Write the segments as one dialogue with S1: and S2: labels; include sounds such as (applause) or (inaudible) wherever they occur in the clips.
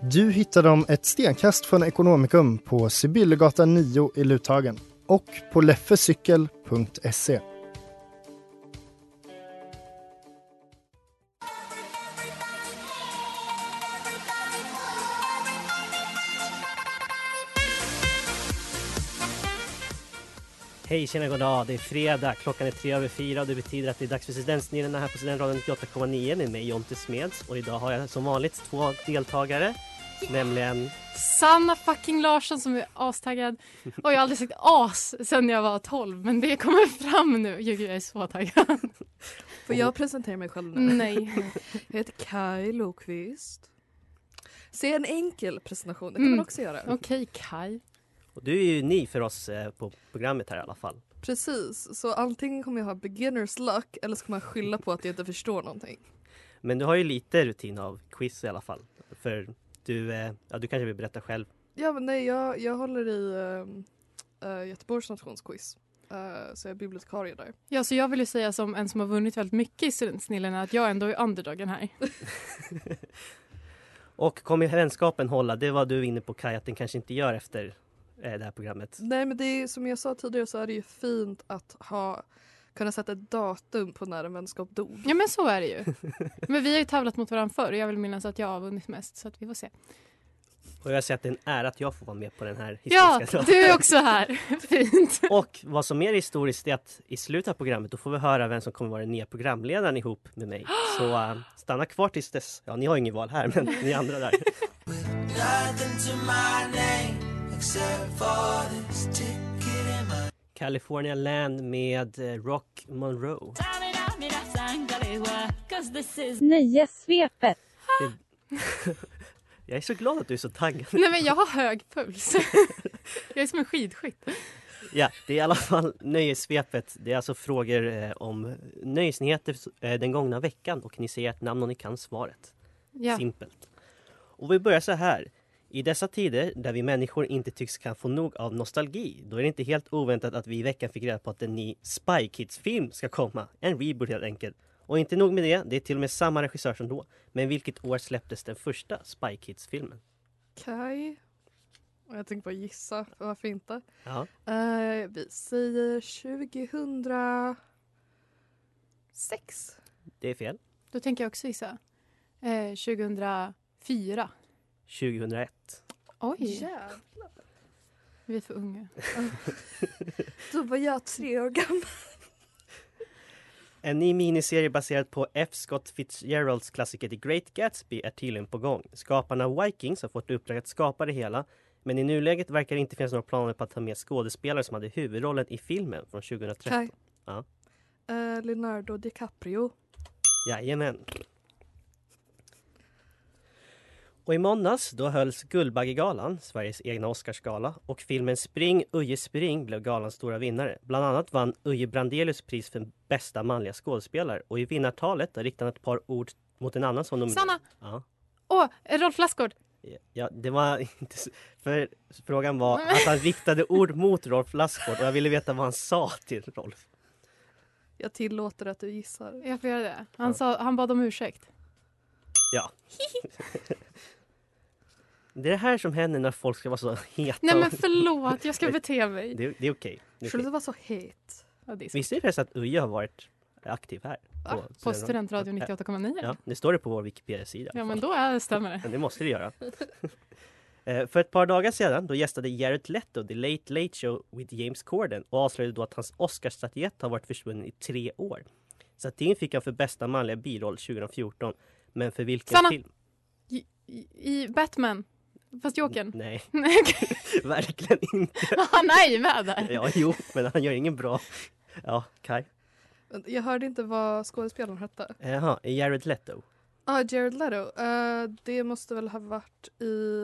S1: Du hittar dem ett stenkast från Ekonomikum på Sibyllegatan 9 i Luthagen och på leffecykel.se.
S2: Hej, tjena, god dag. Det är fredag. Klockan är tre över fyra och det betyder att det är dags för Studentsnillena här på Studentradion 98,9 med mig Jonte Smeds. Och idag har jag som vanligt två deltagare, nämligen...
S3: Sanna fucking Larsson som är astaggad. Och jag har aldrig sagt as sen jag var 12 men det kommer fram nu. Gud, jag är så taggad.
S4: Får jag presentera mig själv nu?
S3: Nej.
S4: Jag heter Kaj Lokvist. Se en enkel presentation, det kan man
S3: Mm.
S4: också göra.
S3: (laughs) Okej Kai.
S2: Och du är ju ny för oss eh, på programmet här i alla fall.
S4: Precis, så antingen kommer jag ha beginners luck eller så kommer jag skylla på att jag inte förstår någonting.
S2: Men du har ju lite rutin av quiz i alla fall. För du, eh, ja, du kanske vill berätta själv.
S4: Ja men nej, jag, jag håller i ehm, eh, Göteborgs nationsquiz. Eh, så jag är bibliotekarie där.
S3: Ja, så jag vill ju säga som en som har vunnit väldigt mycket i Studentsnillena att jag ändå är underdogen här.
S2: (laughs) Och kommer vänskapen hålla? Det var du inne på Kaj, att den kanske inte gör efter eh, det här programmet.
S4: Nej men det är som jag sa tidigare så är det ju fint att ha kunna sätta ett datum på när en vänskap dog.
S3: Ja men så är det ju. Men vi har ju tävlat mot varandra förr och jag vill minnas att jag har vunnit mest så att vi får se.
S2: Och jag säger att det är en ära att jag får vara med på den här
S3: Ja,
S2: historiska
S3: du är också här. (laughs) Fint.
S2: Och vad som är historiskt är att i slutet av programmet då får vi höra vem som kommer vara den nya programledaren ihop med mig. Så eh, stanna kvar tills dess. Ja, ni har ju ingen val här, men ni andra där. California Land med eh, Rock Monroe.
S5: Nöjessvepet.
S2: Jag är så glad att du är så taggad.
S3: Nej men jag har hög puls. Jag är som en skidskytt.
S2: Ja, det är i alla fall Nöjessvepet. Det är alltså frågor eh, om nöjesnyheter eh, den gångna veckan och ni säger ett namn och ni kan svaret.
S3: Ja.
S2: Simpelt. Och vi börjar så här. I dessa tider där vi människor inte tycks kan få nog av nostalgi, då är det inte helt oväntat att vi i veckan fick reda på att en ny Spy Kids-film ska komma. En reboot helt enkelt. Och inte nog med det, det är till och med samma regissör som då. Men vilket år släpptes den första Spy Kids-filmen?
S4: Kaj. Och jag tänkte bara gissa, för varför inte?
S2: Ja,
S4: Eh, vi säger 2006.
S2: det är fel.
S3: Då tänker jag också gissa. Eh, 2004.
S2: 2001.
S3: Oj,
S4: Jävlar.
S3: vi är för unga.
S4: Då var jag tre år gammal.
S2: En ny miniserie baserad på F. Scott Fitzgeralds klassiker The Great Gatsby är tydligen på gång. Skaparna Vikings har fått i uppdrag att skapa det hela. Men i nuläget verkar det inte finnas några planer på att ta med skådespelare som hade huvudrollen i filmen från 2013.
S4: Kaj.
S2: Ja.
S4: Eh, Leonardo DiCaprio.
S2: Jajamän. Och i måndags då hölls Guldbaggegalan, Sveriges egna Oscarsgala och filmen Spring Uje spring blev galans stora vinnare. Bland annat vann Uje Brandelius pris för bästa manliga skådespelare och i vinnartalet där riktade han ett par ord mot en annan som nominerades.
S3: Sanna!
S2: Ja.
S3: Åh, Rolf Lassgård!
S2: Ja, det var (laughs) inte... s- För frågan var att han riktade ord mot Rolf Lassgård och jag ville veta vad han sa till Rolf.
S4: Jag tillåter att du gissar.
S3: Jag får göra det. Han, sa, han bad om ursäkt.
S2: Ja. Det är det här som händer när folk ska vara så heta.
S3: Nej
S2: och-
S3: men
S2: (laughs)
S3: förlåt, jag ska bete mig.
S2: Det, det är okej. Det är
S4: Skulle det
S2: okej.
S4: vara så het?
S3: Ja, det är så. Ah,
S2: Visste ni förresten att Uje har varit aktiv här?
S4: Va?
S3: På Studentradion
S2: Ja,
S3: 98,9.
S2: Ja, det står det på vår Wikipedia-sida.
S3: Ja men då är, stämmer det.
S2: Men det måste det göra. (laughs) Eh, För ett par dagar sedan då gästade Jared Leto The Late Late Show with James Corden och avslöjade då att hans Oscarsstatyett har varit försvunnen i tre år. Statyn fick han för bästa manliga biroll 2014. Men för vilken
S3: Sanna!
S2: film?
S3: I, i- I Batman. Fast Jokern.
S2: Nej,
S3: (laughs)
S2: (laughs)
S3: Nej, okej.
S2: verkligen inte.
S3: Han är ju med där.
S2: Ja, jo, men han gör ingen bra... Ja, Kai.
S4: Vänta, Jag hörde inte vad skådespelaren hette.
S2: Jaha, Jared Leto.
S4: Ah, Jared Leto. Eh, det måste väl ha varit i...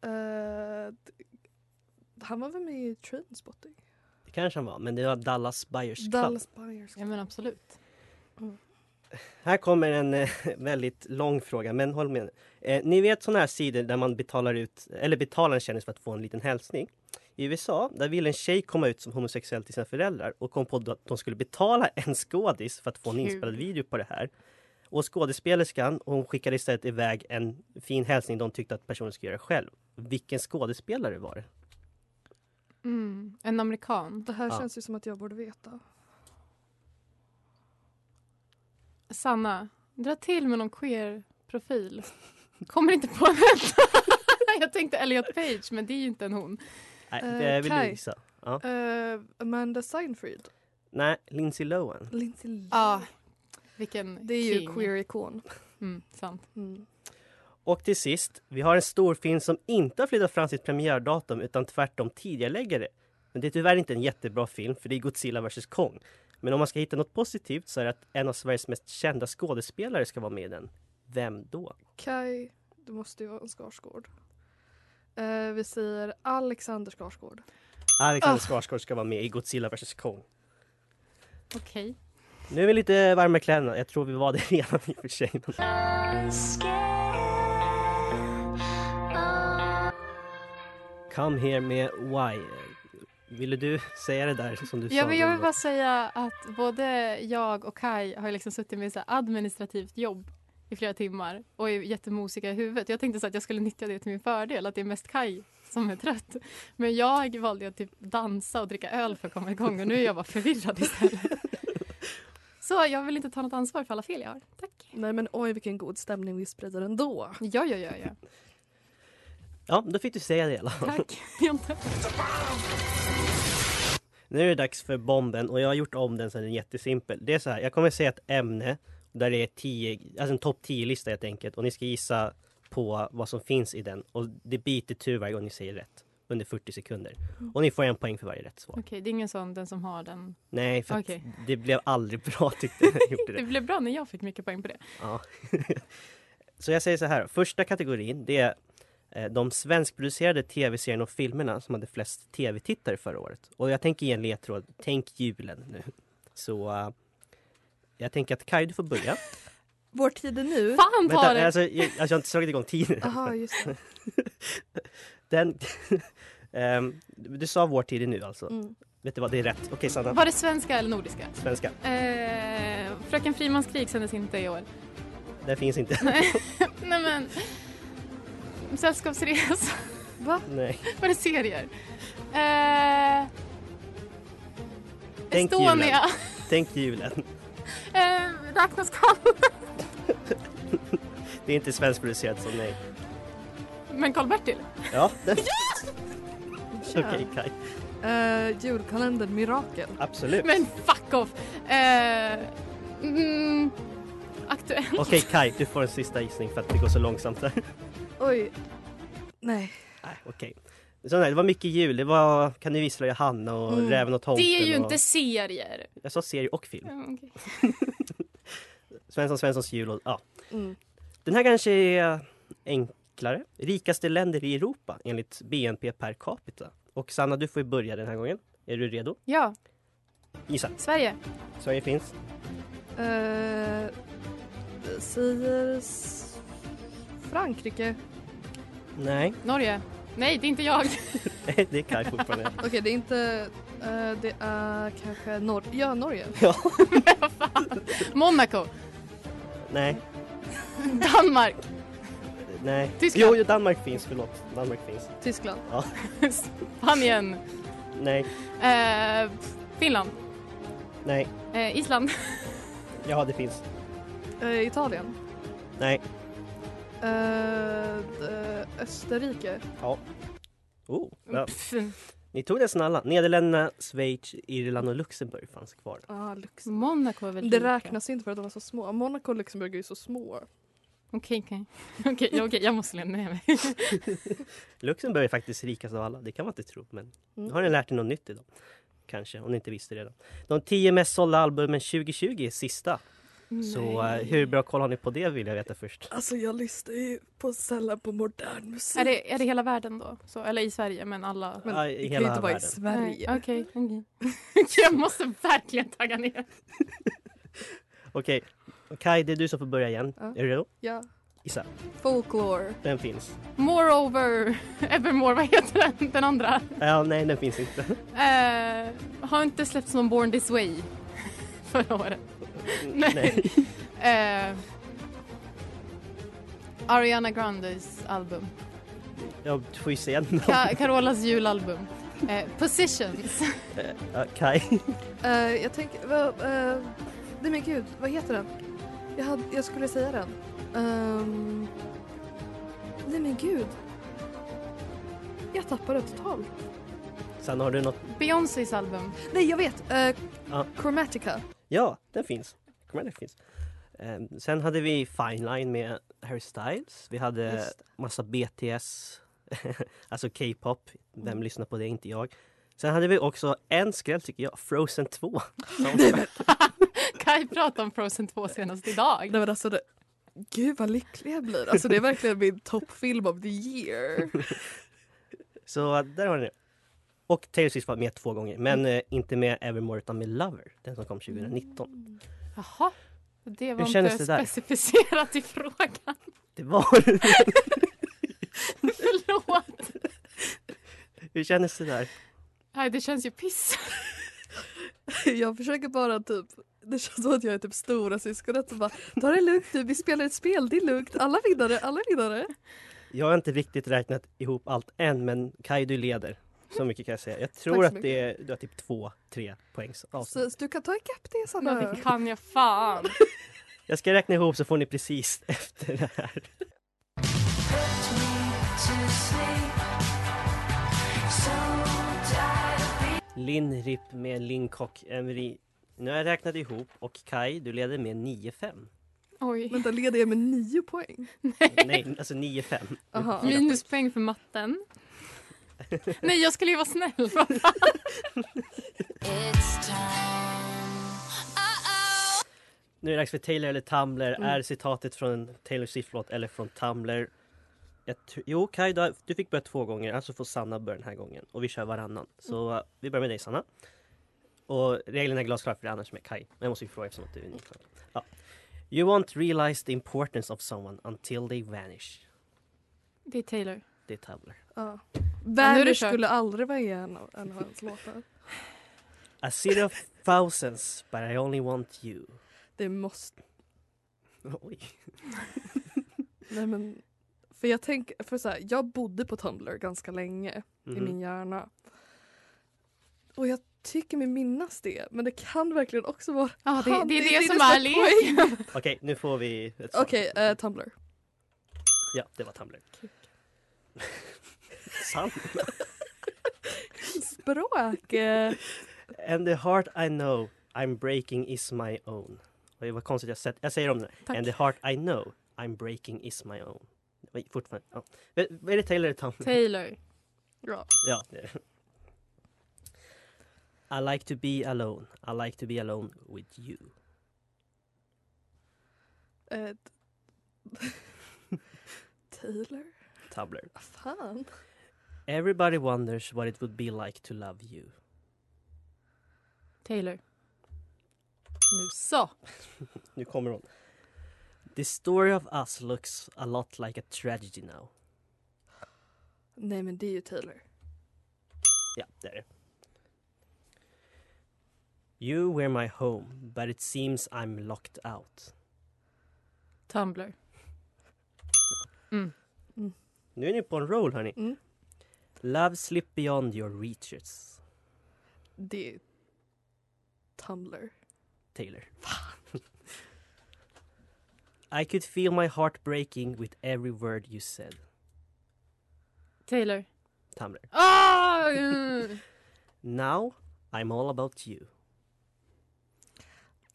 S4: eh, d- han var väl med i Trainspotting?
S2: Det kanske han var, men det var Dallas Buyers Club.
S4: Dallas Buyers
S3: Ja, men absolut.
S2: Här kommer en eh, (laughs) väldigt lång fråga, men håll med. Eh, ni vet sådana här sidor där man betalar ut, eller betalar en kändis för att få en liten hälsning. I USA, där ville en tjej komma ut som homosexuell till sina föräldrar och kom på att de skulle betala (laughs) en skådis för att få en
S3: Kul.
S2: inspelad video på det här. Och skådespelerskan, hon skickade istället iväg en fin hälsning de tyckte att personen skulle göra själv. Vilken skådespelare var det?
S3: Mm. En amerikan.
S4: Det här
S2: Ja.
S4: känns ju som att jag borde veta.
S3: Sanna, dra till med någon queer-profil. Kommer inte på (laughs) vänta. Jag tänkte Elliot Page, men det är ju inte en hon.
S2: Nej,
S4: Eh,
S2: det vill du
S4: Kai.
S2: gissa. Ja.
S4: Eh, Amanda Seinfried.
S2: Nej, Lindsay Lohan.
S4: Lindsay Lohan.
S3: Ja, Ah, vilken
S4: Det är ju
S3: king.
S4: queer-ikon.
S3: Mm, sant.
S4: Mm.
S2: Och till sist, vi har en stor film som inte har flyttat fram sitt premiärdatum utan tvärtom tidigarelägger det. Men det är tyvärr inte en jättebra film för det är Godzilla vs Kong. Men om man ska hitta något positivt så är det att en av Sveriges mest kända skådespelare ska vara med i den. Vem då?
S4: Kai, det måste ju vara en Skarsgård. Eh, vi säger Alexander Skarsgård.
S2: Alexander Skarsgård ska vara med i Godzilla vs Kong.
S3: Okej.
S2: Nu är vi lite varma i kläderna. Jag tror vi var det (laughs) redan i och för sig. Come here med Why. Ville du säga det där som du
S3: Ja,
S2: sa?
S3: men jag vill
S2: Vilma?
S3: bara säga att både jag och Kai har liksom suttit med så här administrativt jobb i flera timmar och är jättemosiga i huvudet. Jag tänkte så att jag skulle nyttja det till min fördel, att det är mest Kai som är trött. Men jag valde att typ dansa och dricka öl för att komma igång och nu är jag bara förvirrad (laughs) istället. Så jag vill inte ta något ansvar för alla fel jag har. Tack.
S4: Nej men oj vilken god stämning vi sprider ändå.
S3: Ja, ja, ja, ja.
S2: Ja, då fick du säga det i alla fall.
S3: (laughs) Tack. Jonte.
S2: Nu är det dags för bomben och jag har gjort om den så den är jättesimpel. Det är så här, jag kommer säga ett ämne där det är 10, alltså en topp 10-lista helt enkelt och ni ska gissa på vad som finns i den och det biter tur varje gång ni säger rätt under 40 sekunder.
S3: Mm.
S2: Och ni får en poäng för varje rätt svar.
S3: Okej, det är ingen sån, den som har den.
S2: Nej, för att
S3: Okej.
S2: det blev aldrig bra tyckte jag. (laughs) när jag gjorde
S3: Det (laughs)
S2: det.
S3: blev bra när jag fick mycket poäng på det.
S2: Ja. (laughs) så jag säger så här, första kategorin det är eh, de svenskproducerade tv-serierna och filmerna som hade flest tv-tittare förra året. Och jag tänker ge en ledtråd, tänk julen nu. Så eh, jag tänker att Kaj, du får börja.
S4: Vår tid är nu.
S3: Fan ta
S2: Vänta,
S3: det!
S2: alltså, jag, alltså, jag har inte slagit igång tiden.
S4: Jaha just det.
S2: (laughs) Den, (laughs) Ehm, du sa vår tid är nu alltså.
S4: Mm.
S2: Vet du vad, det är rätt. Okej
S3: (laughs)
S2: Sanna,
S3: Var det svenska eller nordiska?
S2: svenska.
S3: Eh, Fröken Frimans krig sändes inte i år.
S2: Det finns inte.
S3: Nej men... Sällskapsresa. Va?
S2: (laughs) Nej.
S3: (laughs) Var det serier? Eh,
S2: Tänk
S3: Estonia.
S2: Tänk julen.
S3: (laughs) Eh, räknas Karl...
S2: Det är inte svenskproducerat så nej.
S3: (laughs) Men Karl-Bertil? (laughs)
S2: Ja, det... Okej Kaj,
S4: Eh, julkalendern Mirakel.
S2: absolut.
S3: Men fuck off! Eh, mm, aktuell.
S2: Okej Kai, du får en sista gissning för att det går så långsamt. här.
S4: Oj. Nej.
S2: Nej, Okej. Så nej, det var mycket jul. Det var Kan du vissla Johanna och
S4: Mm.
S2: Räven och tomten.
S3: Det är ju
S2: och...
S3: inte serier.
S2: Jag sa serie och film.
S3: Mm, okej.
S2: Svensson Svenssons jul och... Ja.
S4: Mm.
S2: Den här kanske är enklare. Rikaste länder i Europa enligt BNP per capita. Och Sanna, du får ju börja den här gången. Är du redo?
S3: Ja,
S2: Gissa.
S3: Sverige.
S2: Sverige finns.
S4: Eh, vi säger s- Frankrike.
S2: Nej, (laughs)
S3: Norge. Nej, det är inte jag. (laughs)
S2: det är Kaj fortfarande.
S4: Okej det är inte, eh, det är kanske Nor ja, Norge.
S3: Monaco.
S2: nej,
S3: Danmark.
S2: nej.
S3: Tyskland.
S2: Jo, jo, Danmark finns. Förlåt. Danmark finns.
S4: Tyskland.
S3: (laughs) Spanien.
S2: Nej,
S3: Eh, Finland.
S2: nej.
S3: Eh, Island.
S2: Ja, det finns.
S4: Eh, Italien.
S2: Nej,
S4: Eh, d- Österrike.
S2: Ja. Oh, ja.
S3: (laughs) Pff.
S2: Ni tog nästan alla. Nederländerna, Schweiz, Irland och Luxemburg fanns kvar.
S4: Ah, Luxemburg.
S3: Monaco är väl
S4: Det
S3: lika?
S4: räknas inte för att de var så små. Monaco och Luxemburg är ju så små.
S3: Okej, okej. (laughs) Okej, ja, okej, jag måste lämna med mig.
S2: Luxemburg är faktiskt rikast av alla, det kan man inte tro. Men nu har ni lärt er något nytt idag. Kanske, om ni inte visste det redan. De tio mest sålda albumen 2020 är sista.
S3: (laughs)
S2: Så eh, hur bra koll har ni på det vill jag veta först.
S4: Alltså jag lyssnar ju på sällan på modern musik.
S3: Är det, är det hela världen då? Så, eller i Sverige, men alla?
S4: Men
S2: Ja,
S4: det
S2: i
S4: kan ju
S2: hela
S4: inte vara i
S2: världen.
S4: Sverige.
S3: Nej, Okej, okej. (laughs) Jag måste verkligen tagga ner.
S2: Okej, Kaj det är du som får börja igen.
S4: Ja.
S2: Är du redo?
S4: Ja.
S2: Gissa.
S4: Folklore.
S2: Den finns.
S3: Moreover, (laughs) Evermore, vad heter den, den andra?
S2: Ja, nej, den finns inte. (laughs)
S3: Eh, har inte släppts någon Born This Way (laughs) förra
S2: (laughs)
S3: året. Nej. Eh, Ariana Grandes
S2: (laughs)
S3: album.
S2: Jag får ju säga någon.
S3: Ka- Carolas julalbum. Eh, Positions. (laughs)
S2: Ja, Kaj.
S4: Eh, jag tänker, vad, eh, nej men gud, vad heter den? Jag, hade, jag skulle säga den. Ehm, nej men gud. Jag tappade det totalt.
S2: Sen har du något.
S3: Beyoncés album.
S4: Nej jag vet! Eh,
S2: Ja.
S4: Chromatica.
S2: Ja, den finns. Kommer den finns. Ehm, sen hade vi Fine Line med Harry Styles. Vi hade
S3: Just
S2: massa BTS, (laughs) alltså K-pop. Vem lyssnar på det? Inte jag. Sen hade vi också en skräll tycker jag, Frozen 2. Som,
S3: (laughs) Kai pratade om Frozen 2 senast idag.
S4: Nej men alltså det, gud vad lycklig jag blir. Alltså det är verkligen min toppfilm of the year.
S2: (laughs) så där har ni det. Och Taylor Swift var med två gånger, men eh, inte med Evermore utan med Lover, den som kom 2019.
S3: Jaha. Det var
S2: Hur kändes
S3: inte
S2: det där?
S3: specificerat i frågan. (laughs)
S2: Det var (laughs)
S3: Förlåt.
S2: Hur kändes det där?
S3: Nej, det känns ju piss.
S4: Jag försöker bara typ, det känns som att jag är typ stora syskonet som bara ta det lugnt nu, vi spelar ett spel, det är lugnt, alla vinnare, alla vinnare.
S2: Jag har inte riktigt räknat ihop allt än, men Kaj du leder. Så mycket kan jag säga. Jag tror
S4: så
S2: att det är, du har typ två, tre poängs avstånd.
S4: Så, så du kan ta ikapp det Sanna.
S3: Men det kan jag fan.
S2: Jag ska räkna ihop så får ni precis (laughs) efter det här. Linn Ripp med Linn Kock Emery. Nu har jag räknat ihop och Kai, du leder med 9-5.
S3: Oj.
S4: Vänta, leder jag med nio poäng?
S2: Nej, alltså 9-5.
S4: Aha.
S3: Minuspoäng för matten. Nej, jag skulle ju vara snäll. (laughs)
S2: Nu är det dags för Taylor eller Tumblr.
S4: Mm.
S2: Är citatet från Taylor Swift-låt eller från Tumblr? Jag tr- jo, Kaj, du har- du fick börja två gånger. Alltså får Sanna börja den här gången. Och vi kör varannan. Så
S4: Mm.
S2: eh, vi börjar med dig, Sanna. Och reglerna är glasklara för det är annars med Kaj. Men jag måste ju fråga eftersom att du är ny. Ja. You won't realize the importance of someone until they vanish.
S3: Det är Taylor.
S2: Det är Tumblr.
S4: Ja.
S3: nu är det
S4: Vanish
S3: kört.
S4: skulle aldrig vara en av, en av
S3: (laughs)
S4: hans låtar.
S2: A
S4: (laughs)
S2: city of thousands, but I only want you.
S4: Det måste,
S2: Oj.
S4: nej men. För jag tänker, för så här, jag bodde på Tumblr ganska länge i
S2: Mhm.
S4: min hjärna. Och jag tycker mig minnas det, men det kan verkligen också vara
S3: Ja, det, det är
S4: Han,
S3: det,
S4: det är
S3: som
S4: nästan
S3: är (laughs) leken.
S2: Okej, nu får vi ett svar.
S4: Okej, eh, Tumblr.
S2: Ja, det var Tumblr.
S4: (laughs)
S2: Sant.
S4: Språk! eh,
S2: And the heart I know I'm breaking is my own. Oj, vad konstigt jag sett. Jag säger om det.
S3: Tack.
S2: And the heart I know I'm breaking is my own. Oj, fortfarande. Ja. Är är det Taylor eller Tumblr?
S3: Taylor.
S4: Bra.
S2: ja, (laughs) det är det. I like to be alone. I like to be alone with you.
S4: Eh, (laughs) Taylor?
S2: Tumblr.
S4: Vad fan?
S2: Everybody wonders what it would be like to love you.
S3: Taylor. Nu så.
S2: Nu kommer hon. The story of us looks a lot like a tragedy now.
S4: Nej men det är ju Taylor.
S2: Ja, det är det. You were my home, but it seems I'm locked out.
S3: Tumblr. Mm.
S2: Nu är ni på en roll, hörni.
S4: Mm.
S2: Love slip beyond your reaches,
S4: Det är Tumblr.
S2: Taylor. (laughs) I could feel my heart breaking with every word you said.
S3: Taylor.
S2: Tamler.
S3: Ah! mm.
S2: Now I'm all about you.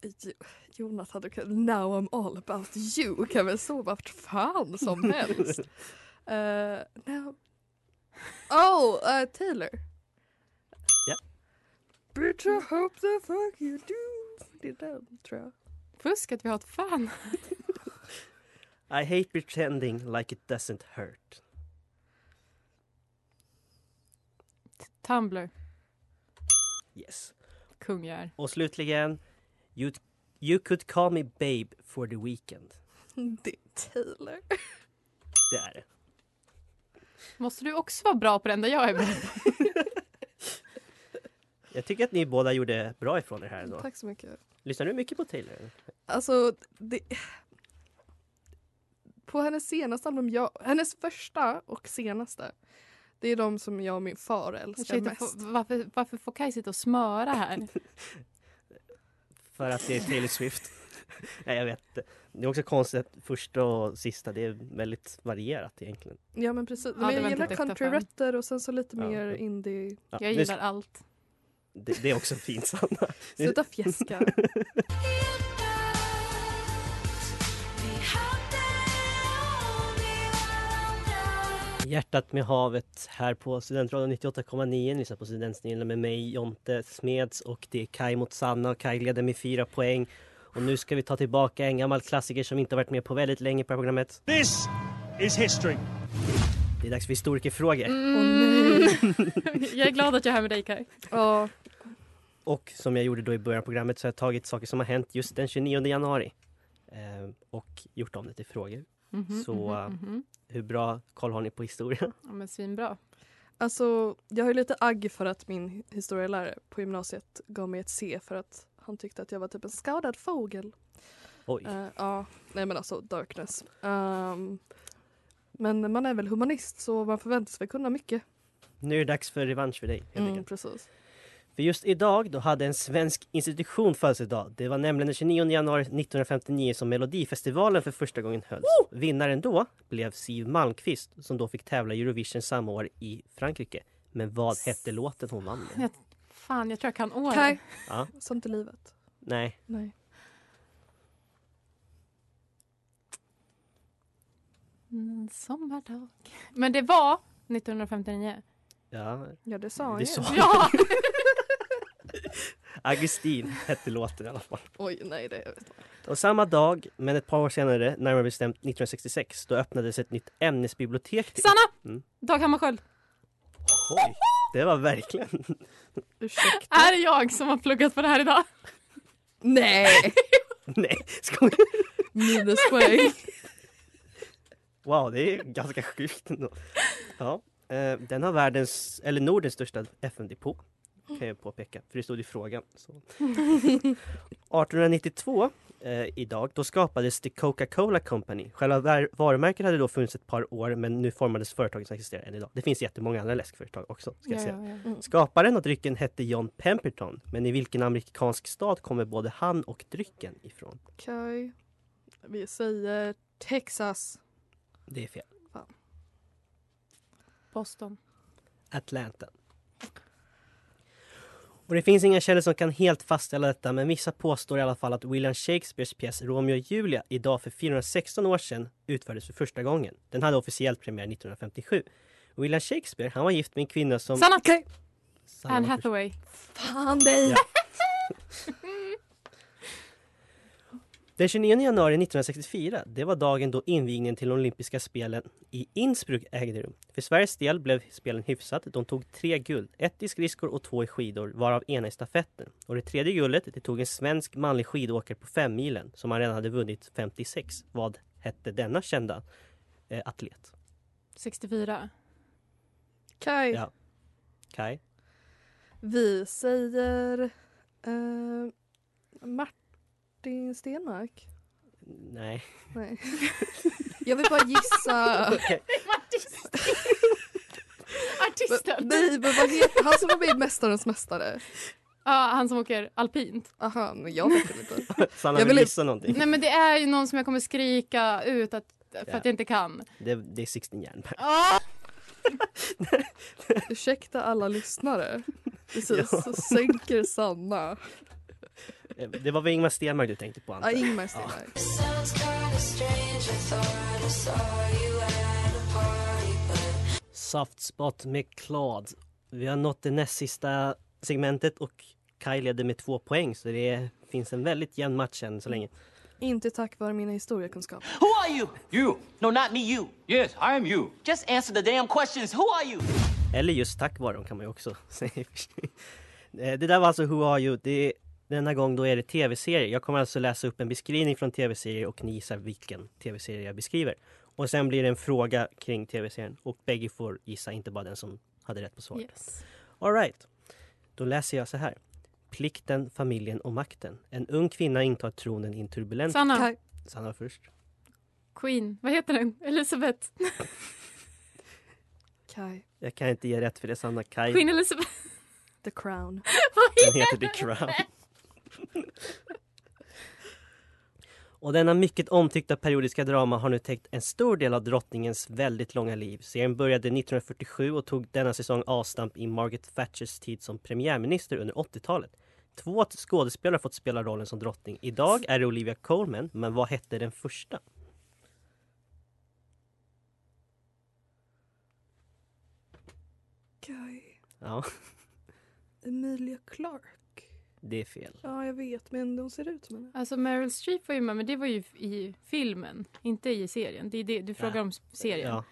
S4: Jo- Jonathan, du kan, now I'm all about you kan väl så vart fan (laughs) som helst. Eh, now. Oh, eh, Taylor.
S2: Ja.
S4: Bitch I hope the fuck you do. Det är den tror jag.
S3: (laughs) Fusk att vi har ett fan.
S2: I hate pretending like it doesn't hurt.
S3: Tumblr.
S2: Yes.
S3: Kung jag är.
S2: Och slutligen, you, you could call me babe for the weekend.
S4: Det är Taylor.
S2: Det är det.
S3: Måste du också vara bra på det enda jag är bra på?
S2: Jag tycker att ni båda gjorde bra ifrån er här ändå.
S4: Tack så mycket.
S2: Lyssnar du mycket på Taylor?
S4: Alltså, det... På hennes senaste album, jag... hennes första och senaste. Det är de som jag och min far älskar
S3: Ursäkta,
S4: mest.
S3: får- varför, varför får Kaj sitta och smöra (laughs) här?
S2: För att det är Taylor Swift. (laughs) Nej, jag vet inte. Det är också konstigt att första och sista, det är väldigt varierat egentligen.
S4: Ja men precis.
S3: Ja,
S4: men
S3: det
S4: jag
S3: var inte
S4: gillar
S3: duktiga
S4: countryrötter och sen så lite
S2: Ja.
S4: mer
S2: (laughs)
S4: indie.
S2: Ja,
S3: Jag
S2: nu
S3: gillar allt.
S2: Det, det är också fint Sanna.
S4: Sluta fjäska.
S2: Hjärtat med havet här på Studentradion 98,9. Ni lyssnar på Studentsnillen med mig Jonte Smeds och det är Kai mot Sanna och Kai leder med fyra poäng. Och nu ska vi ta tillbaka en gammal klassiker som inte har varit med på väldigt länge på det här programmet.
S6: This is history.
S2: Det är dags för historikerfrågor.
S3: (laughs) Jag är glad att jag är här med dig Kaj.
S4: Ja,
S2: Och som jag gjorde då i början av programmet så har jag tagit saker som har hänt just den 29 januari. Eh, och gjort om det till frågor.
S3: Mhm,
S2: Så, eh,
S3: mhm, mhm.
S2: Hur bra koll har ni på historia? (laughs)
S3: Ja, men svinbra.
S4: alltså jag har ju lite agg för att min historielärare på gymnasiet gav mig ett C för att han tyckte att jag var typ en skadad fågel.
S2: Oj.
S4: Eh, ja, nej men alltså darkness. Ehm, men man är väl humanist så man förväntas väl kunna mycket.
S2: Nu är det dags för revansch för dig. Helt
S4: Mm,
S2: enkelt.
S4: precis.
S2: För just idag då hade en svensk institution födelsedag. Det var nämligen den 29 januari 1959 som Melodifestivalen för första gången hölls. Vinnaren då blev Siw Malmkvist som då fick tävla i Eurovision samma år i Frankrike. Men vad hette låten hon vann med?
S3: Jag- Fan, jag tror jag kan åren.
S4: Kaj,
S2: Ja,
S4: sånt är livet.
S2: nej,
S4: Nej.
S3: Mm, sommardag. Men det var 1959.
S2: ja,
S4: Ja det sa han
S2: det
S4: ju.
S2: sa
S3: Ja!
S2: Augustin hette låten i alla fall.
S4: (laughs) Oj nej det är
S2: Och samma dag, men ett par år senare, närmare bestämt 1966, då öppnades ett nytt ämnesbibliotek. Till.
S3: Sanna!
S2: Mm.
S3: Dag Hammarskjöld.
S2: Oj, det var verkligen... (laughs)
S4: Ursäkta.
S2: Äh!
S3: Är det jag som har pluggat på det här idag?
S4: Nej!
S2: Nej, skoja.
S4: Minuspoäng.
S2: Wow, det är ganska sjukt ändå. Ja, eh, den har världens, eller Nordens största FN-depå. Kan jag påpeka, för det stod i frågan. Så. 1892, eh, idag, då skapades The Coca-Cola Company. Själva var- varumärket hade då funnits ett par år men nu formades företaget som existerar än idag. Det finns jättemånga andra läskföretag också. Ska jag säga.
S4: Mm.
S2: Skaparen av drycken hette John Pemberton, men i vilken amerikansk stad kommer både han och drycken ifrån?
S4: Okej. Vi säger Texas.
S2: Det är fel.
S3: Boston.
S2: Atlanta. Och det finns inga källor som kan helt fastställa detta, men vissa påstår i alla fall att William Shakespeares pjäs Romeo och Julia idag för 416 år sedan utfördes för första gången. Den hade officiellt premiär 1957. William Shakespeare, han var gift med en kvinna som...
S3: Sanna!
S2: Sanna
S3: Anne
S2: var först.
S3: Hathaway.
S4: Fan dig!
S2: Ja. Den 29 januari 1964, det var dagen då invigningen till de olympiska spelen i Innsbruck ägde rum. För Sveriges del blev spelen hyfsat. De tog tre guld, ett i skridskor och två i skidor, varav ena i stafetten. Och det tredje guldet, det tog en svensk manlig skidåkare på fem milen som han redan hade vunnit 56. Vad hette denna kända eh, atlet?
S3: 64.
S4: Kaj.
S2: Ja. Kai?
S4: Vi säger eh, Martin Stenmark.
S2: Nej. (laughs)
S4: Nej. Jag vill bara (laughs) gissa.
S3: Artisten! Ja,
S4: Nej men vad heter han som var med i Mästarens Mästare?
S3: han som åker
S2: (laughs)
S3: alpint.
S4: Aha, men jag vet inte.
S2: Sanna
S4: Jag
S2: vill
S4: vill-
S2: gissa någonting.
S3: Nej men det är ju någon som jag kommer skrika ut att, för
S2: Ja.
S3: att jag inte kan.
S2: Det, det är Sixten Jernberg.
S3: Ah!
S4: Ursäkta alla lyssnare. Precis, så sänker Sanna.
S2: Eh, Det var väl Ingmar Stenmark du tänkte på antar
S4: Ja,
S2: jag.
S4: Ingmar Stenmark.
S2: Softspot med Claude. Vi har nått det näst sista segmentet och Kai leder med två poäng så det finns en väldigt jämn match än så länge.
S4: Inte tack vare mina historiekunskaper.
S7: Who are you? You. No, not me, you. Yes, I am you. Just answer the damn questions. Who are you?
S2: Eller just tack vare dem kan man ju också (laughs) säga i och för sig. Eh, Det där var alltså Who Are You. Det, denna gång då är det tv-serier. Jag kommer alltså läsa upp en beskrivning från tv-serier och ni gissar vilken tv-serie jag beskriver. Och sen blir det en fråga kring tv-serien och bägge får gissa, inte bara den som hade rätt på svaret.
S3: Yes.
S2: All right. Då läser jag så här. Plikten, familjen och makten. En ung kvinna intar tronen i en turbulent...
S3: Sanna.
S4: Kaj.
S2: Sanna var först.
S3: Queen. Vad heter den? Elisabeth.
S4: Kai.
S2: Jag kan inte ge rätt för det. Sanna Kaj.
S3: Queen Elizabeth.
S4: The Crown.
S2: Den heter The Crown. Och denna mycket omtyckta periodiska drama har nu täckt en stor del av drottningens väldigt långa liv. Serien började 1947 och tog denna säsong avstamp i Margaret Thatchers tid som premiärminister under 80-talet. Två skådespelare har fått spela rollen som drottning. Idag är det Olivia Colman, men vad hette den första?
S4: Kai.
S2: Ja,
S4: Emilia Clark.
S2: det är fel.
S4: Ja, jag vet, men de ser ut som henne.
S3: Alltså Meryl Streep var ju med, men det var ju i filmen, inte i serien. Det är det, du frågar om serien. Ja.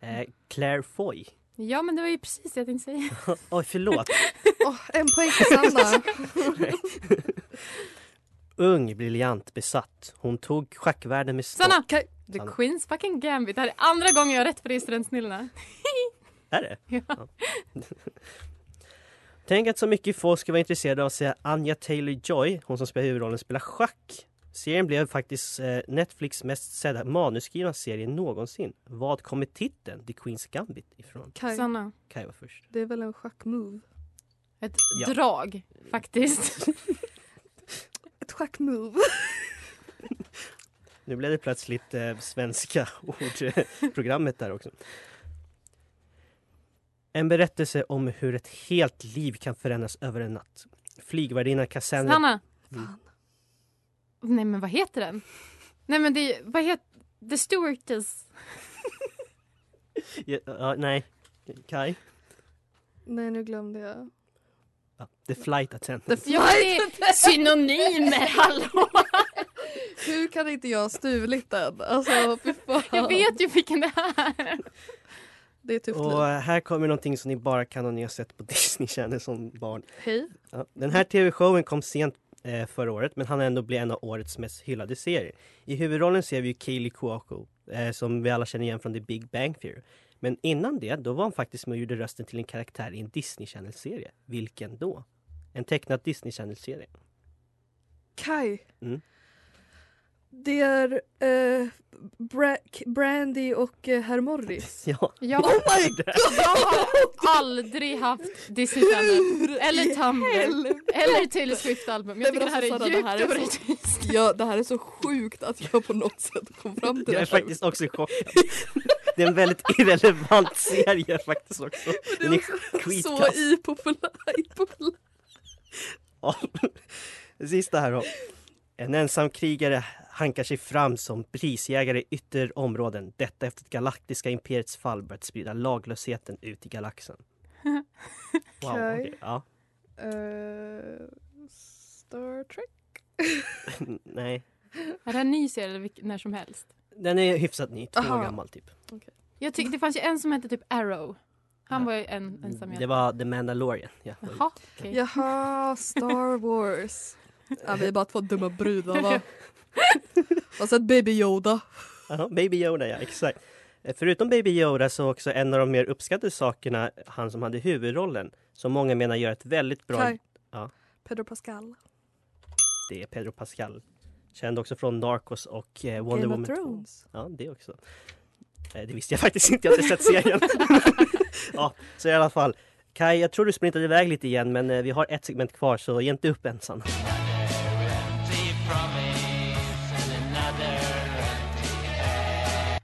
S2: Ja. Eh, Claire Foy. (laughs)
S3: men det var ju precis det jag tänkte säga.
S2: Oj, förlåt.
S4: (laughs) Åh, en poäng till (laughs) Sanna.
S2: (laughs) Ung, briljant, besatt. Hon tog schackvärlden med storm.
S3: Sanna! The
S2: Sanna.
S3: Queens fucking Gambit. Det här är andra gången jag har rätt på det i Studentsnillena.
S2: Är det?
S3: (laughs) Ja.
S2: Tänk att så mycket folk ska vara intresserade av att se Anja Taylor-Joy, hon som spelar huvudrollen, spela schack. Serien blev faktiskt eh, Netflix mest sedda manusskrivna serie någonsin. Vad kommer titeln The Queen's Gambit ifrån?
S4: Kai.
S3: Sanna.
S2: Kaj var först.
S4: Det är väl en schackmove?
S3: Ett
S2: Ja.
S3: drag, faktiskt.
S4: Ett schackmove.
S2: Nu blev det plötsligt eh, svenska (laughs) ordprogrammet där också. En berättelse om hur ett helt liv kan förändras över en natt. Flygvärdinnan Cassandra...
S3: Sanna!
S2: Mm.
S3: Nej, men vad heter den? Nej, men det är- Vad heter... The Stewardess.
S2: Ja, ja, nej, Kaj.
S4: Nej, nu glömde jag.
S2: Ja, The Flight Attendant.
S4: The
S3: Ja, det
S4: (laughs)
S3: är synonymer, hallå!
S4: Hur kan inte jag ha stulit den? Alltså, fy fan.
S3: Jag vet ju vilken det är.
S4: Det är tufft
S2: Och
S4: liv.
S2: eh, här kommer någonting som ni bara kan om ni har sett på (laughs) Disney Channel som barn.
S4: Hej.
S2: Ja, den här tv-showen kom sent eh, förra året men han ändå bli en av årets mest hyllade serier. I huvudrollen ser vi ju Kaylee Cuoco eh, som vi alla känner igen från The Big Bang Theory. Men innan det, då var han faktiskt med och gjorde rösten till en karaktär i en Disney Channel-serie. Vilken då? En tecknad Disney Channel-serie. (laughs)
S4: Kai.
S2: Mm.
S4: Det är eh, Bra- K- Brandy och eh, Herr Morris.
S2: (laughs)
S4: Oh
S2: Ja,
S3: Jag,
S2: (laughs)
S4: (laughs)
S3: jag har aldrig haft Disney Channel. Eller Tumblr. (laughs) Eller Taylor Swift-album. Jag
S4: Nej,
S3: tycker
S4: men
S3: det här
S4: alltså,
S3: är
S4: Sara, det
S3: djupt
S4: här är så-
S3: orättvist.
S4: Ja, det här är så sjukt att jag på något sätt kom fram till
S2: jag är
S4: det
S2: faktiskt också chockad. Det är en väldigt irrelevant serie faktiskt också.
S4: det
S2: Den är
S4: här.
S2: skitkast.
S4: Så ipopulär. ipopulär.
S2: Ja. (laughs) Det Sista här då. En ensam krigare hankar sig fram som prisjägare i ytterområden. Detta efter att galaktiska imperiets fall börjat sprida laglösheten ut
S4: (laughs)
S2: i galaxen. Wow,
S4: Okej.
S2: okej. ja. (laughs)
S4: Eh, Star Trek?
S2: Nej.
S3: Är det en ny serie eller vilk- när som helst?
S2: Den är hyfsat ny, två år
S4: Aha.
S2: gammal typ.
S3: Jag tycker det fanns ju en som hette typ Arrow. Han var ju
S4: Mm,
S3: en ensam
S2: Mm, Det
S3: hjälte.
S2: var The Mandalorian. Ja.
S3: Jaha,
S4: (laughs)
S3: okej.
S4: Jaha, Star Wars. Ja, vi är bara två dumma brudar (laughs) va? Har sett Baby Yoda.
S2: Ja, Baby Yoda, ja exakt. Eh, Förutom Baby Yoda så också en av de mer uppskattade sakerna, han som hade huvudrollen, som många menar gör ett väldigt bra...
S4: Kai.
S2: Ja.
S4: Pedro Pascal.
S2: Det är Pedro Pascal. Känd också från Narcos och eh, Wonder
S4: Game
S2: Woman
S4: of
S2: 2.
S4: Thrones.
S2: Ja, det också. Eh, Det visste jag faktiskt inte, jag hade sett serien. (laughs) ja, så i alla fall. Kai, jag tror du sprintade iväg lite igen men eh, vi har ett segment kvar så ge inte upp än Sanna.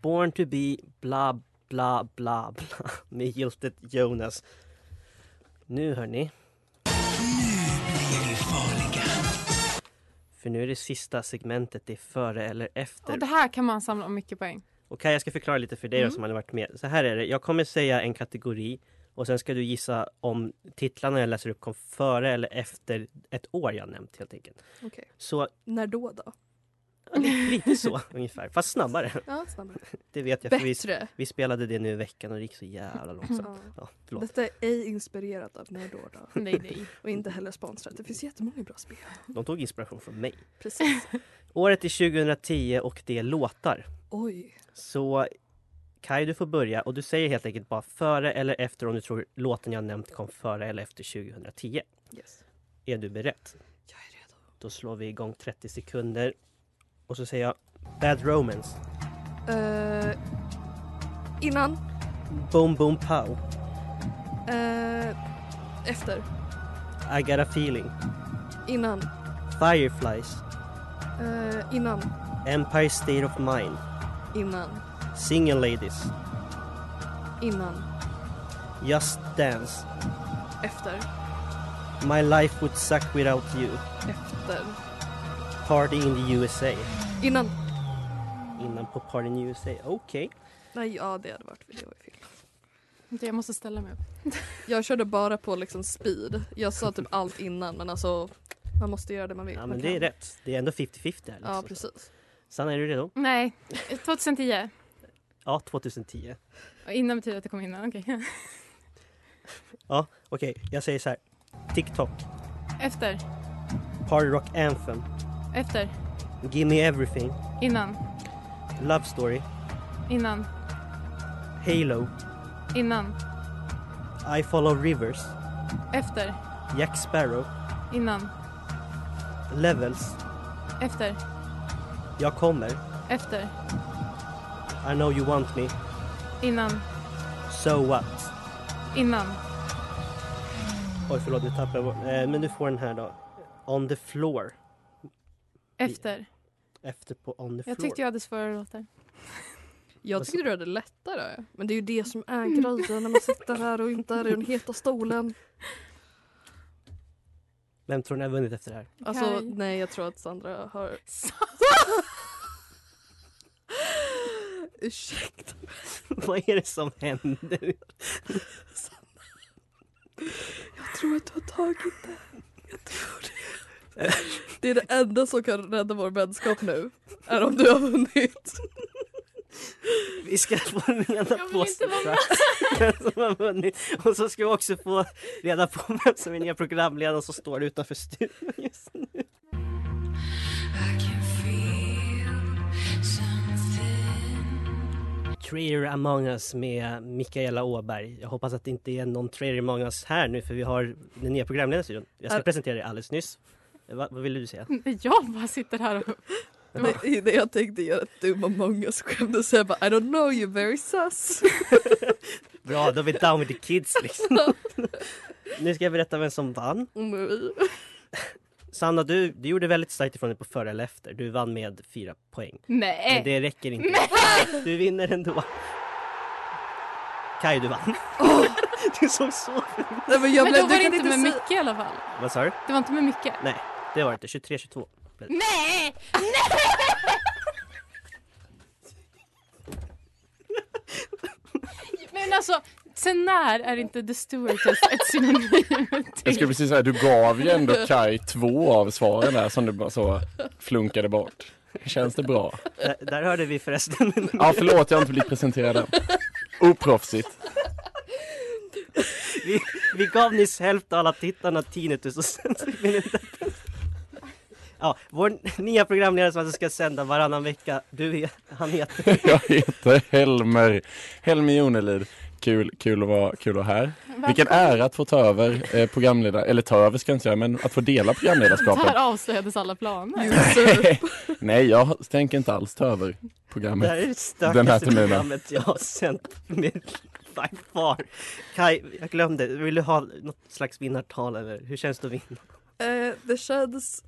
S2: Born to be bla bla bla bla (laughs) med giltet Jonas. Nu hörni. För nu är det sista segmentet, det är före eller efter.
S3: Och det här kan man samla om mycket poäng.
S2: Och Kaj, jag ska förklara lite för dig
S4: Mm.
S2: då, som hade varit med. Så här är det, jag kommer säga en kategori och sen ska du gissa om titlarna jag läser upp kom före eller efter ett år jag nämnt helt enkelt.
S4: Okej.
S2: Så
S4: När då då?
S2: ja, li-
S3: (laughs)
S4: (laughs)
S2: lite så ungefär, fast snabbare.
S4: Ja, snabbare.
S2: Det vet jag för vi,
S4: Bättre. Mm.
S2: vi spelade det nu i veckan och det gick så jävla långsamt.
S4: Ja.
S2: Ja,
S4: (laughs)
S2: förlåt.
S4: Detta är ej inspirerat av När då då.
S3: Nej, nej.
S4: Och inte heller sponsrat. Det finns jättemånga bra spel.
S2: De tog inspiration från mig.
S4: Precis.
S2: Året är 2010 och det är låtar.
S4: Oj.
S2: Så Kaj, du får börja och du säger helt enkelt bara före eller efter om du tror låten jag nämnt kom före eller efter 2010.
S4: Yes.
S2: Är du beredd? Jag är redo. Då slår vi igång 30 sekunder. Och så säger jag Bad Romance,
S4: Eh, innan.
S2: Boom Boom Pow,
S4: eh, efter.
S2: I Got A Feeling,
S4: Innan.
S2: Fireflies,
S4: eh, innan.
S2: Empire State of Mind,
S4: Innan.
S2: Singing Ladies,
S4: Innan.
S2: Just Dance,
S4: Efter.
S2: My Life Would Suck Without You,
S4: Efter.
S2: Party in the USA.
S4: Innan.
S2: Innan på Party in the USA, okej.
S4: Nej, ja det hade varit det var ju fel.
S3: Jag måste ställa mig upp.
S4: Jag körde bara på liksom speed. Jag sa typ allt innan men alltså man måste göra det man vill.
S2: Ja
S4: man
S2: men
S4: kan.
S2: det är rätt. Det är ändå 50-50 här. Liksom.
S4: Ja precis.
S2: Sanna, är du redo?
S3: Nej, 2010.
S2: Ja, 2010.
S3: Och innan betyder att det kom innan. Okej. (laughs)
S2: Ja, okej. Jag säger så här. TikTok,
S3: Efter.
S2: Party Rock Anthem,
S3: Efter.
S2: Give Me Everything,
S3: Innan.
S2: Love Story,
S3: Innan.
S2: Halo,
S3: Innan.
S2: I Follow Rivers,
S3: Efter.
S2: Jack Sparrow,
S3: Innan.
S2: Levels,
S3: Efter.
S2: Jag kommer,
S3: Efter.
S2: I Know You Want Me,
S3: Innan.
S2: So What.
S3: Innan.
S2: Oj, förlåt nu tappade jag bort. eh, Men du får den här då. On the floor.
S3: Efter.
S2: Efter på on the floor.
S3: Jag tyckte jag hade svårare låtar. (laughs)
S2: Alltså-
S4: Jag tyckte du hade lättare. Men det är ju det som är grejen när man sitter här och inte är i den heta stolen.
S2: Vem tror ni har vunnit efter det här? (laughs)
S4: Alltså
S3: Kaj.
S4: nej jag tror att Sandra har... (laughs) Ursäkta.
S2: Vad är det som händer?
S4: Jag tror att du har tagit det. Jag tror det. (laughs) Det är det enda som kan rädda vår vänskap nu. Är om du har vunnit.
S2: Vi ska få reda
S3: vill
S2: på
S3: inte vara med.
S2: vem (laughs) som har vunnit. Och så ska vi också få reda på vem som är nya programledaren som står utanför studion just nu. Traitor Among Us med Mikaela Åberg. Jag hoppas att det inte är någon Traitor Among Us här nu för vi har den nya programledaren i studion. Jag ska
S4: Är-
S2: presentera dig alldeles nyss. Va, vad ville du säga?
S3: Jag bara sitter här och...
S4: Nej, nej, jag tänkte göra ett dum among us-skämt och säga bara I don't know you very (laughs) sus.
S2: Bra, då är vi down with the kids
S4: (laughs)
S2: liksom. nu ska jag berätta vem som vann.
S4: Nej.
S2: Sanna, du, du gjorde väldigt starkt ifrån dig på före eller efter. Du vann med fyra poäng. Men
S3: Nej!
S2: det räcker inte. Du vinner ändå. Kaj, du vann. Du såg så...
S4: Nej, men jag
S3: Men
S4: blev,
S3: då
S4: du
S3: var det
S4: kan
S3: inte med
S4: säga-
S3: mycket i alla fall.
S2: Vad sa du?
S3: Det var inte med mycket.
S2: Nej, det var det inte. 23-22. blev det.
S3: Nej! Nej! Men alltså, sen när är inte The Stewardess ett
S2: (laughs)
S3: synonym
S8: Jag
S3: till...
S8: skulle precis säga, du gav ju ändå Kai två av svaren där som du bara så flunkade bort. Känns det bra?
S2: Där, där hörde vi förresten.
S8: Ja, förlåt, jag har inte blivit presenterad än. Oproffsigt.
S2: Vi, vi gav nyss hälften av alla tittarna tinnitus och sen så blev det inte. Ja, vår nya programledare som alltså ska sända varannan vecka, du är, han heter...
S8: (laughs) Jag heter Helmer, Helmer Jonelid. Kul, kul att vara, kul att vara här. Vilken ära att få ta över eh, programledare, eller ta över ska jag inte säga, men att få dela
S3: (laughs)
S8: programledarskapet.
S3: Där avslöjades alla
S4: (laughs)
S3: planer.
S8: (laughs) Nej, jag tänker inte alls ta över
S2: Det här är det
S8: programmet den här
S2: stökigaste
S8: terminen.
S2: programmet jag har sänt med by far. Kai, jag glömde, vill du ha något slags vinnartal över hur känns det att vinna?
S4: Eh, det känns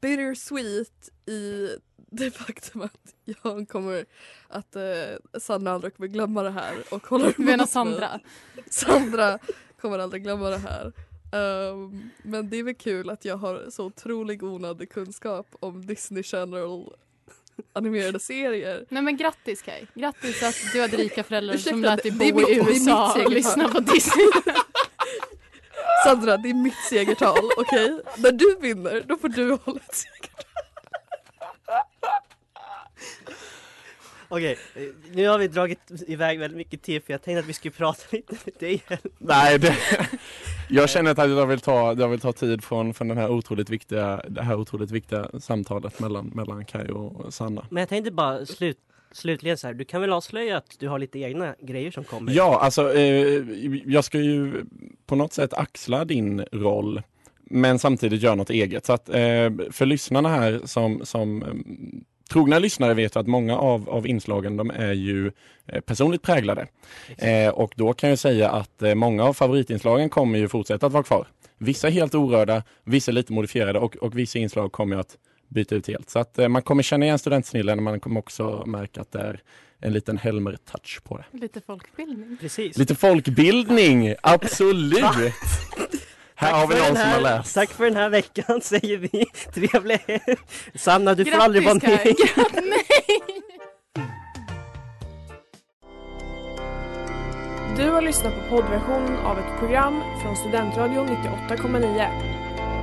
S4: bittersweet i det (laughs) faktum att jag kommer att eh, Sandra aldrig kommer glömma det här och håller
S3: Du menar
S4: emot mig.
S3: Sandra?
S4: (laughs) Sandra kommer aldrig glömma det här. Ehm, men det är väl kul att jag har så otrolig onödig kunskap om Disney Channel (laughs) animerade serier.
S3: Nej men grattis Kaj. Grattis att du hade rika föräldrar som
S4: Ursäkta,
S3: lät dig
S4: det-
S3: bo
S4: det är mitt- det är
S3: i
S4: mitt
S3: USA och
S4: eget (laughs)
S3: lyssna
S4: hörn.
S3: på Disney.
S4: Sandra, det är mitt segertal, okej? När du vinner, då får du hålla ett segertal.
S2: Okej, eh, nu har vi dragit iväg väldigt mycket tid för jag tänkte att vi skulle prata (laughs) lite med dig igen.
S8: Nej, det, (laughs) jag känner att jag vill ta, jag vill ta tid från, från den här otroligt viktiga, det här otroligt viktiga samtalet mellan, mellan Kaj och Sanna.
S2: Men jag tänkte bara slut, slutligen så här, du kan väl avslöja att du har lite egna grejer som kommer?
S8: Ja, alltså eh, jag ska ju på något sätt axla din roll men samtidigt göra något eget. Så att, eh, för lyssnarna här som, som eh, trogna lyssnare vet ju att många av, av inslagen de är ju eh, personligt präglade. Eh, och då kan jag säga att eh, många av favoritinslagen kommer ju fortsätta att vara kvar. Vissa är helt orörda, vissa är lite modifierade och, och vissa inslag kommer jag att byta ut helt. Så att eh, man kommer känna igen studentsnillen men man kommer också märka att det är en liten Helmer-touch på det.
S3: Lite folkbildning.
S2: Precis.
S8: Lite folkbildning,
S2: (laughs)
S8: absolut!
S2: Va?
S8: Här har vi
S2: För
S8: någon
S2: den
S8: som har
S2: här-
S8: läst.
S2: Tack för den här veckan (laughs) säger vi. Trevlig helg. Sanna, du får
S3: Grattis,
S2: aldrig vara med
S3: Kaj.
S2: igen.
S3: Nej!
S9: Du har lyssnat på poddversionen av ett program från Studentradion 98,9.